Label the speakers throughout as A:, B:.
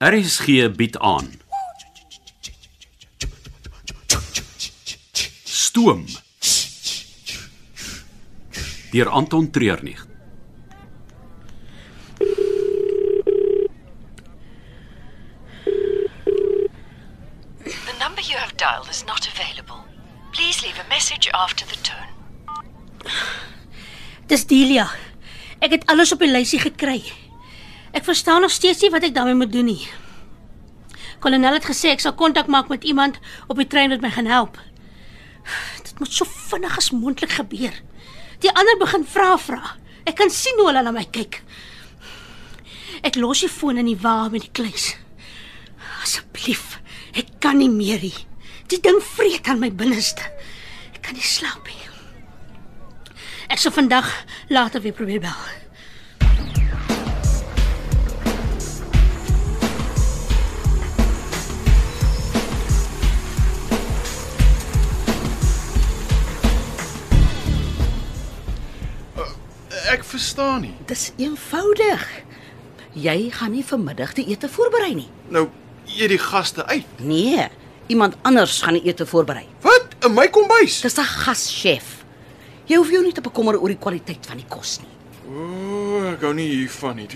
A: RSG bied aan. Stoom. Deur Anton Treurnig.
B: The number you have dialed is not available. Please leave a message after the tone.
C: Dis Delia. Ek het alles op die lysie gekry. Ek verstaan nog steeds nie wat ek daarmee moet doen nie. Kolonel het gesê ek sal kontak maak met iemand op die trein wat my gaan help. Dit moet so vinnig as moontlik gebeur. Die ander begin vra vra. Ek kan sien hoe hulle na my kyk. Ek los die foon in die wa met die kluis. Asseblief, ek kan nie meer nie. Die ding vreet aan my binneste. Ek kan nie slaap nie. Ek sal vandag later weer probeer bel.
D: Ek verstaan nie.
E: Dis eenvoudig. Jy gaan nie vanmiddag die ete voorberei nie.
D: Nou eet die gaste uit.
E: Nee, iemand anders gaan die ete voorberei.
D: Wat? In my kombuis?
E: Dis 'n gaschef. Jy hoef jou nie te bekommer oor die kwaliteit van die kos nie.
D: Ooh, ek hou nie hiervan nie.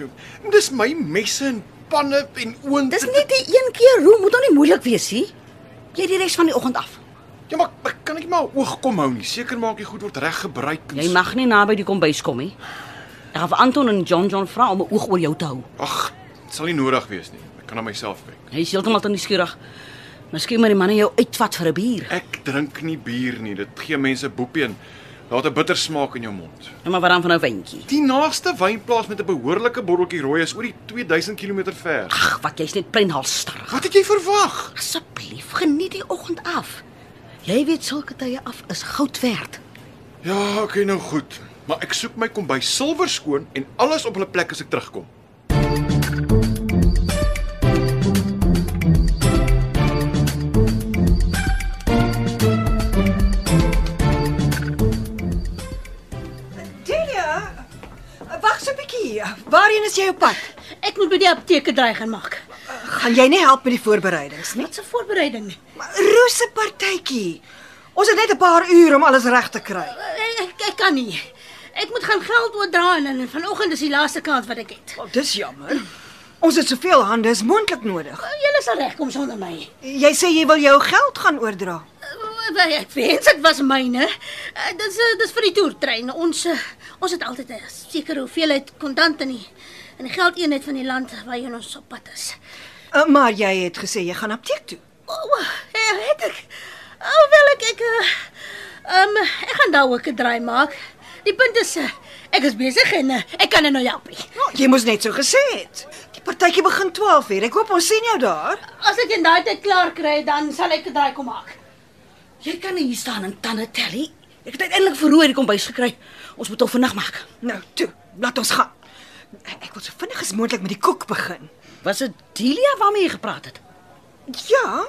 D: Dis my messe en panne en oond.
E: Dis net die een keer, hoe moet nou nie moeilik wees nie. Jy het die res van die oggend af.
D: Ja, maar ek kan ek nie maar oog kom hou nie. Seker maak jy goed word reg gebruik. en
E: Jy
D: so.
E: mag nie naby die kombuis kom nie. Ek gaan vir Anton en John John vra om 'n oog oor jou te hou.
D: Ag, dit sal nie nodig wees nie. Ek kan na myself kyk.
E: Hy is heeltemal te nuuskierig. Miskien moet die manne jou uitvat vir 'n bier.
D: Ek drink nie bier nie. Dit gee mense boepie en laat 'n bitter smaak in jou mond.
E: Nou maar wat dan van 'n wyntjie?
D: Die naaste wynplaas met 'n behoorlike botteltjie rooi is oor die 2000 km ver.
E: Ag, wat jy's net plain halstarrig.
D: Wat het jy verwag?
E: Asseblief, geniet die oggend af. Jy weet sulke tye af is goud werd.
D: Ja, okay nou goed. Maar ek soek my kombuis silwer skoon en alles op hulle plek as ek terugkom.
F: Delia, wag so 'n bietjie. Waarheen is jy op pad?
C: Ek moet by die apteek 'n draai gaan maak.
F: Gaan jy nie help met die voorbereidings nie?
C: Wat 'n voorbereiding.
F: Maar Roos se partytjie. Ons het net 'n paar ure om alles reg te kry.
C: Ek, Eh, ek, ek kan nie. Ek moet gaan geld oordra en en vanoggend is die laaste kans wat ek het.
F: Oh, dis jammer. Ons het soveel hande, is moontlik nodig.
C: Julle sal regkom sonder my.
F: Jy sê jy wil jou geld gaan oordra.
C: Eh, Ek wens dit was myne. Eh, Dis eh, dis vir die toertrein. Ons eh, ons het altyd 'n sekere hoeveelheid kontant in die in die geldeenheid van die land waarheen ons op pad is.
F: Uh, maar jy het gesê jy gaan apteek toe.
C: O, o, eh, het ek. O, wel ek ek eh, um, ek gaan daar ook 'n draai maak. Die punt is eh, ek is besig en eh, ek kan nou help. nie.
F: Nou, jy moes net so gesê het. Die partytjie begin 12uur. Ek hoop ons sien jou daar.
C: As ek in daai tyd klaar kry, dan sal ek 'n draai kom maak.
E: Jy kan nie hier staan en tande tel nie. Ek het uiteindelik verhoor die kombuis gekry. Ons moet hom vannag maak.
F: Nou, toe, laat ons gaan. Ek wil so vinnig as moontlik met die koek begin.
E: Was dit Delia waarmee jy gepraat het?
F: Ja,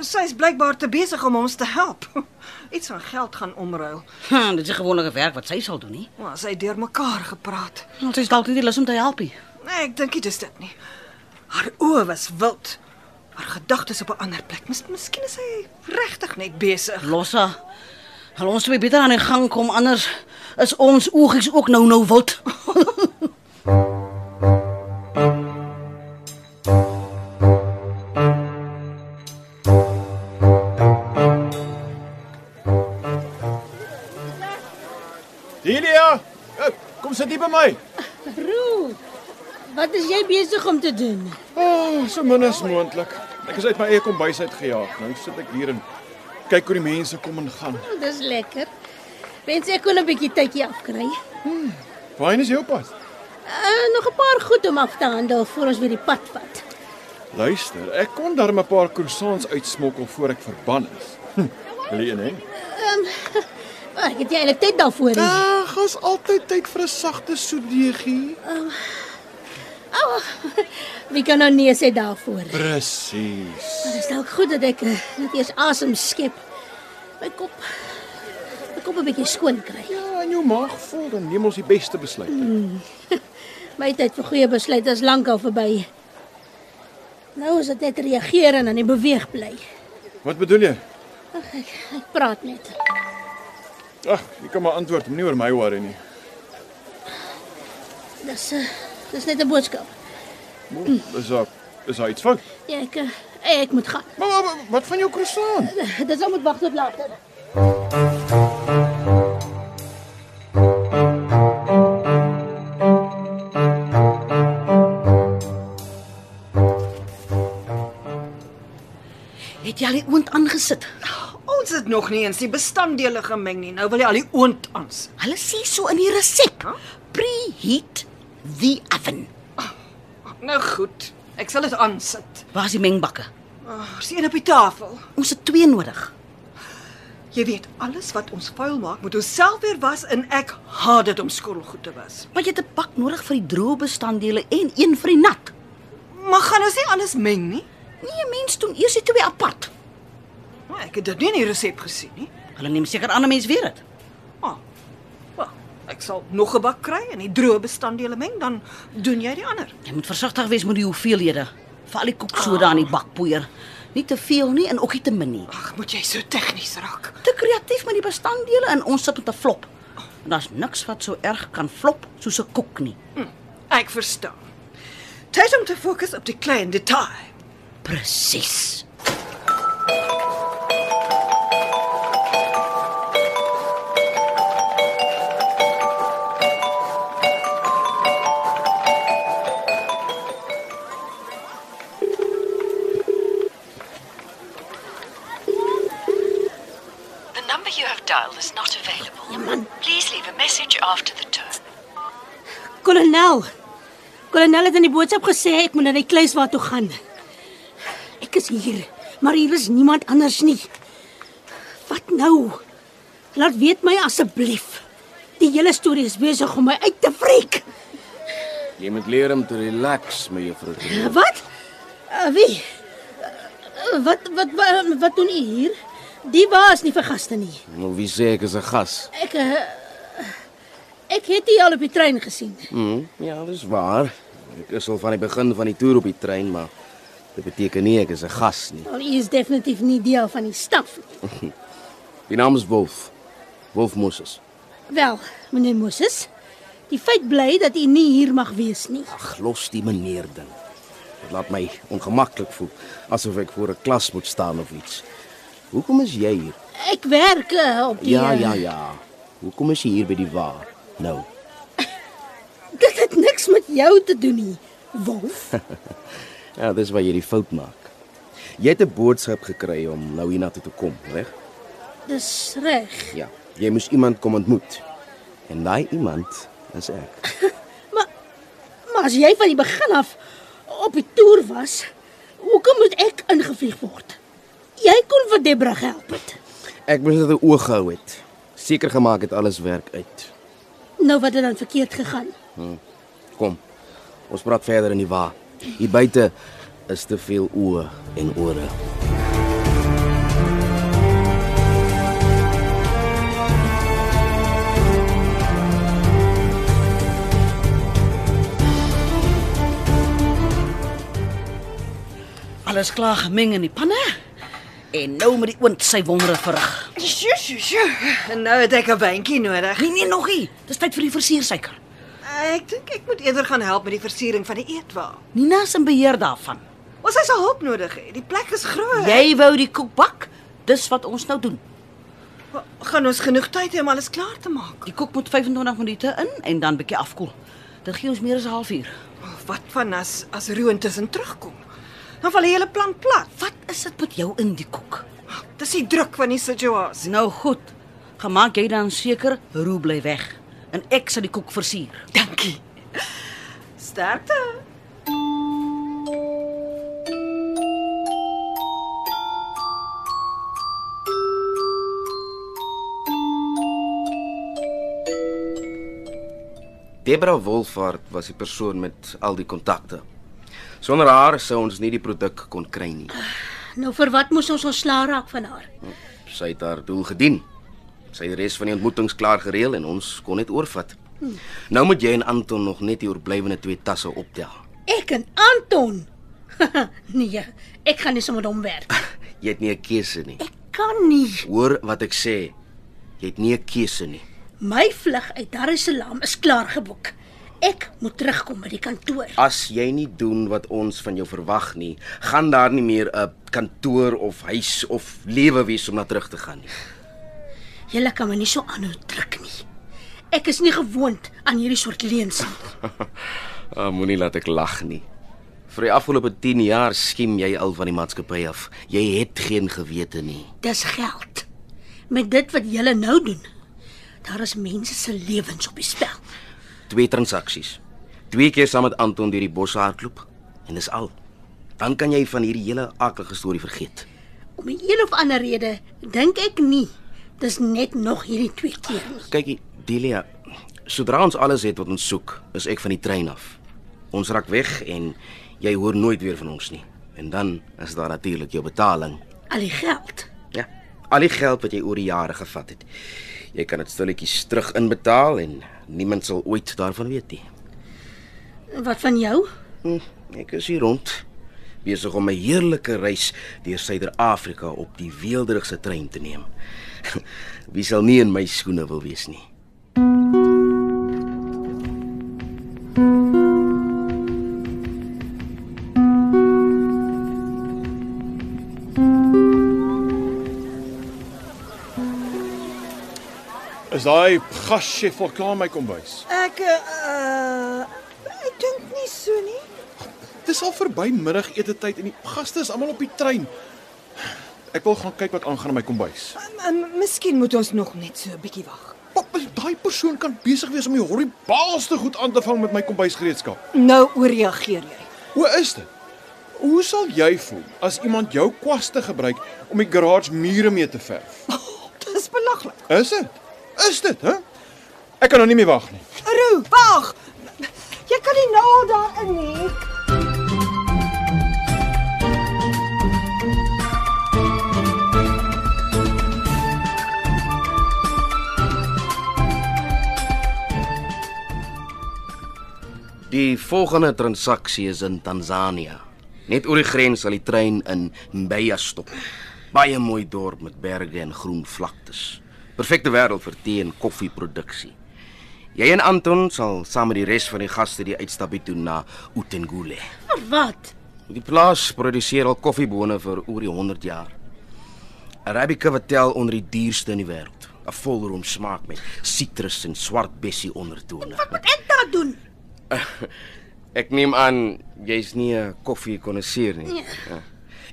F: sy is blykbaar te besig om ons te help. Iets van geld gaan omruil.
E: Hm, dit is 'n gewone werk wat sy sal doen nie.
F: Maar sy het deur mekaar gepraat.
E: Ons Nou, is dalk nie die lus om te help nie.
F: Nee, ek dink nie dis dit nie. Haar oë was wild. Haar gedagtes op 'n ander plek. Mis, miskien is sy regtig net besig.
E: Lossa. Hulle ons moet beter aan die gang kom anders is ons oogies ook nou nou wild.
D: Delia, Eh, kom sit hier by my.
C: Roo. Wat is jy besig om te doen?
D: O, oh, so min as moontlik. Ek is uit my eie kombuis uitgejaag. Nou sit ek hier en kyk hoe die mense kom en gaan.
C: O, Dis lekker. Wens ek kon 'n bietjie tydjie afkry.
D: Waarheen is jou pad?
C: Uh, nog 'n paar goed om af te handel voor ons weer die pad vat.
D: Luister, ek kon darm 'n paar croissants uitsmokkel voor ek verban is. Hm, Wil jy een hê?
C: Maar ek het nie eintlik tyd daarvoor nie.
D: Ag, ons altyd tyd vir 'n sagte soetdeegie.
C: Wie kan nou nee sê daarvoor?
D: Presies.
C: Maar dit is dalk goed dat ek eh, net eers asem skep. My kop my kop 'n bietjie skoon kry.
D: Ja, en jou maag vol, dan neem ons die beste besluit.
C: My tyd vir goeie besluite is lankal verby. Nou is dit net reageer en dan nie beweeg bly.
D: Wat bedoel jy?
C: Ag ek, ek praat net.
D: Ag, jy kan maar antwoord, moenie oor my worry nie.
C: Dis eh, dis net 'n boodskap.
D: Mo, Is daar is daar iets fout?
C: Ja, ek eh, ek moet gaan.
D: Maar, maar maar, wat van jou croissant?
C: Dit sal moet wag tot later.
E: Het jy al die oond aangesit?
F: Ons het nog nie eens die bestanddele gemeng nie. Nou wil jy al die oond ans.
E: Hulle sê so in die resep. Preheat the oven.
F: Nou goed, ek sal dit aansit.
E: Waar is die mengbakke?
F: Ag, sien op die tafel.
E: Ons het twee nodig.
F: Jy weet, alles wat ons vuil maak, moet ons self weer was en ek haat dit om skottelgoed te was.
E: Want jy het 'n bak nodig vir die droë bestanddele en een vir die nat.
F: Maar gaan ons nie alles meng nie?
E: Nee, 'n mens doen eers die twee apart.
F: Nou, ek het dit nie in die resep gesien nie.
E: Hulle neem seker ander mense weer dit.
F: Ah. Wel, ek sal nog 'n bak kry en die droë bestanddele meng, dan doen jy die ander.
E: Jy moet versigtig wees met die hoeveelhede. Veral die koeksoda in die bakpoeier. Nie Ah. te veel nie en ook nie te min nie.
F: Ag, moet jy so tegnies raak.
E: Te kreatief met die bestanddele en ons sit met 'n flop. En daar's niks wat so erg kan flop soos 'n koek nie.
F: Ek verstaan. Tyd om te fokus op die klein detail.
E: Presies.
B: The number you have dialed is not available. Please leave a message after the tone.
C: Kolonel. Kolonel het in die boodskap gesê ek moet na die kluiswaar toe gaan. Ek is hier, maar hier is niemand anders nie. Wat nou? Laat weet my asseblief. Die hele storie is besig om my uit te freek.
G: Jy moet leer om te relax, my juffrou. Terloops.
C: Wat? Uh, wie? Uh, wat, wat wat wat doen u hier? Die was nie vir gaste nie.
G: Nou wie sê ek is 'n gas?
C: Ek uh, ek het u al op die trein gesien.
G: Hm, ja, dis waar. Ek is al van die begin van die toer op die trein, maar dit beteken nie ek is 'n gas nie.
C: Maar u is definitief nie deel van die staf nie.
G: Die naam is Wolf. Wolf Moses.
C: Wel, meneer Moses, die feit bly dat u nie hier mag wees nie.
G: Ag, los die meneer ding. Dit laat my ongemaklik voel, asof ek voor 'n klas moet staan of iets. Hoekom is jy hier?
C: Ek werk uh, op die
G: Ja,
C: eh,
G: ja, ja. Hoekom is jy hier by die wa? Nou,
C: Dit het niks met jou te doen nie, Wolf.
G: ja, dis waar jy die fout maak. Jy het 'n boodskap gekry om nou hiernatoe te kom, reg?
C: Dis reg.
G: Ja, jy moes iemand kom ontmoet. En daai iemand is ek.
C: Maar maar as jy van die begin af op die toer was, hoekom moet ek ingevlieg word? Jy kon vir Debra gehelp het.
G: Ek moes dit 'n oog gehou het. Seker gemaak het alles werk uit.
C: Nou wat het dan verkeerd gegaan?
G: Kom. Ons praat verder in die wa. Hier buite is te veel oë en ore.
E: Alles klaar gemeng in die panne. En nou met die oond sy wondere verrig.
F: Sjoe, sjoe, sjoe. En nou het ek 'n wyntjie nodig.
E: Nee, nee nog nie. Dis tyd vir die versiersuiker.
F: Ek dink ek moet eerder gaan help met die versiering van die eetwa.
E: Nina is in beheer daarvan.
F: Ons hy sal hulp nodig hê. Die plek is groot.
E: Jy wou die koek bak? Dis wat ons nou doen.
F: gaan ons genoeg tyd hê om alles klaar te maak.
E: Die koek moet 25 minute in en dan bietjie afkoel. Dit gee ons meer as 'n halfuur.
F: Oh, Wat van as as Roon tussen terugkom? Dan val die hele plan plat.
E: Wat is dit met jou in die koek?
F: Dis die druk van die situasie.
E: Nou goed. Gemaak jy dan seker roe bly weg en ek sal die koek versier.
F: Dankie. Sterkte.
G: Debra Wolfhard was die persoon met al die kontakte. Sonder haar sou ons nie die produk kon kry nie.
C: Nou vir wat moes ons ontslaa raak van haar?
G: Sy het haar doel gedien. Sy het die res van die ontmoetings klaar gereël en ons kon net oorvat. Nou moet jy en Anton nog net die oorblywende twee tasse optel.
C: Ek en Anton. nee, ek gaan nie sommer met hom werk.
G: Jy het nie 'n keuse nie.
C: Ek kan nie.
G: Hoor wat ek sê. Jy het nie 'n keuse nie.
C: My vlug uit Dar es Salaam is klaar geboek. Ek moet terugkom by die kantoor.
G: As jy nie doen wat ons van jou verwag nie, gaan daar nie meer 'n kantoor of huis of lewe wees om na terug te gaan nie.
C: Julle kan my nie so aanhou druk nie. Ek is nie gewoond aan hierdie soort leuns nie.
G: Ah, moenie laat ek lag nie. Vir die afgelope 10 jaar skiem jy al van die maatskappy af. Jy het geen gewete nie.
C: Dis geld. Met dit wat julle nou doen, daar is mense se lewens op die spel.
G: Twee transaksies. Twee keer saam met Anton deur die bosse hardloop en dis al. Dan kan jy van hierdie hele akelige storie vergeet.
C: Om 'n een of ander rede dink ek nie dis net nog hierdie twee keer nie.
G: Kykie, Delia, sodra ons alles het wat ons soek, is ek van die trein af. Ons raak weg en jy hoor nooit weer van ons nie. En dan is daar natuurlik jou betaling.
C: Al die geld.
G: Ja, al die geld wat jy oor die jare gevat het. Jy kan dit stilletjies terug inbetaal en niemand sal ooit daarvan weet nie.
C: Wat van jou?
G: Hm, ek is hier rond besig om 'n heerlike reis deur Suider-Afrika op die weelderigste trein te neem. Wie sal nie in my skoene wil wees nie?
D: Is daai gaschef al klaar my kombuis?
F: Ek uh ek dink nie so nie.
D: Dis al verby middagete tyd en die gaste is almal op die trein. Ek wil gaan kyk wat aangaan in my kombuis.
F: Um, um, miskien moet ons nog net so 'n bietjie wag.
D: Pap, daai persoon kan besig wees om die horribaalste goed aan te vang met my kombuisgereedskap.
F: Nou ooreageer jy.
D: Hoe is dit? Hoe sal jy voel as iemand jou kwaste gebruik om die garage mure mee te verf?
F: Oh, Dis belaglik.
D: Is dit? Is dit, hè? Ek kan nou nie meer wag nie.
F: Roo, wag. Jy kan nie nou al daarin nie.
G: Die volgende transaksie is in Tansanië. Net oor die grens sal die trein in Mbeya stop. Baie mooi dorp met berge en groen vlaktes. Perfekte wêreld vir tee en koffieproduksie. Jy en Anton sal saam met die res van die gaste die uitstappie doen na Utengule.
C: Vir wat?
G: Die plaas produseer al koffiebone vir oor die 100 jaar. Arabica wat tel onder die duurste in die wêreld. 'n Volroom smaak met sitrus en swart bessie ondertone.
C: Wat moet ek daar doen?
G: Ek neem aan jy's nie 'n koffie-konnisseur nie. Ja.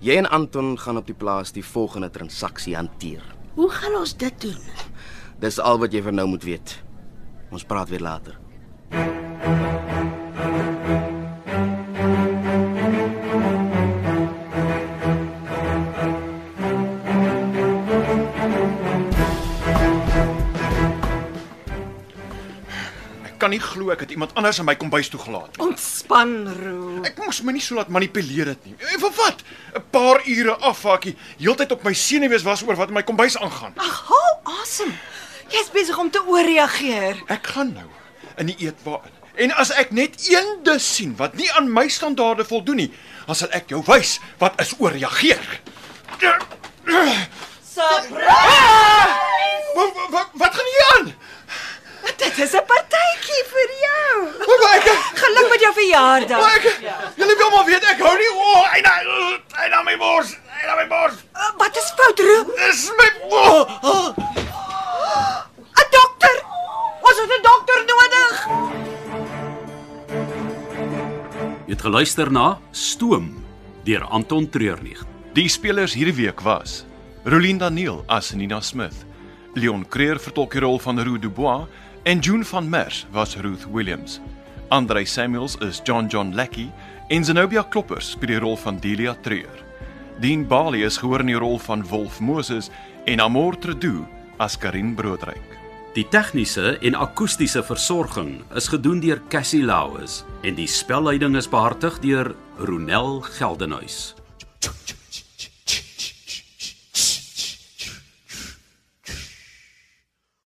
G: Jy en Anton gaan op die plaas die volgende transaksie hanteer.
C: Hoe gaan ons dit doen?
G: Dis al wat jy vir nou moet weet. Ons praat weer later.
D: Ek kan nie glo ek het iemand anders in my kombuis toegelaat nie.
F: Ontspan, Roo.
D: Ek moes my nie so laat manipuleer het nie. En vir wat? 'n Paar ure afhakie, heeltyd op my senuwees was oor wat in my kombuis aangaan.
F: Ag, hou asem. Jy's besig om te ooreageer.
D: Ek gaan nou in die eetwa in. En as ek net een dus sien wat nie aan my standaarde voldoen nie, dan sal ek jou wys wat is ooreageer.
F: Sabra,
D: Wat wat, wat gaan hier aan?
F: dit is 'n partytjie vir jou.
D: Wat maar ek Ja.
F: Geluk met jou Ja.
D: maar
F: verjaardag.
D: ek Julle wil maar weet ek hou nie o, oh, en en aan my bors, en aan my bors.
F: Uh, Wat is fout, Roo?
D: Dis my oh, oh.
F: 'n Dokter. Ons het 'n dokter nodig.
A: Jy het geluister na Stoom deur Anton Treurnig.
H: Die spelers hierdie week was: Rolien Daniel as Nina Smith, Leon Creer vertolk die rol van Roo Dubois en June van Merwe was Ruth Williams. Andrei Samuels is John John Lackey en Zenobia Kloppers speel die rol van Delia Treur. Dean Bali is gehoor in die rol van Wolf Moses en Amor Tredu as Karin Broodryk.
A: Die tegniese en akoestiese versorging is gedoen deur Cassie Lauis en die spelleiding is behartig deur Ronel Geldenhuys.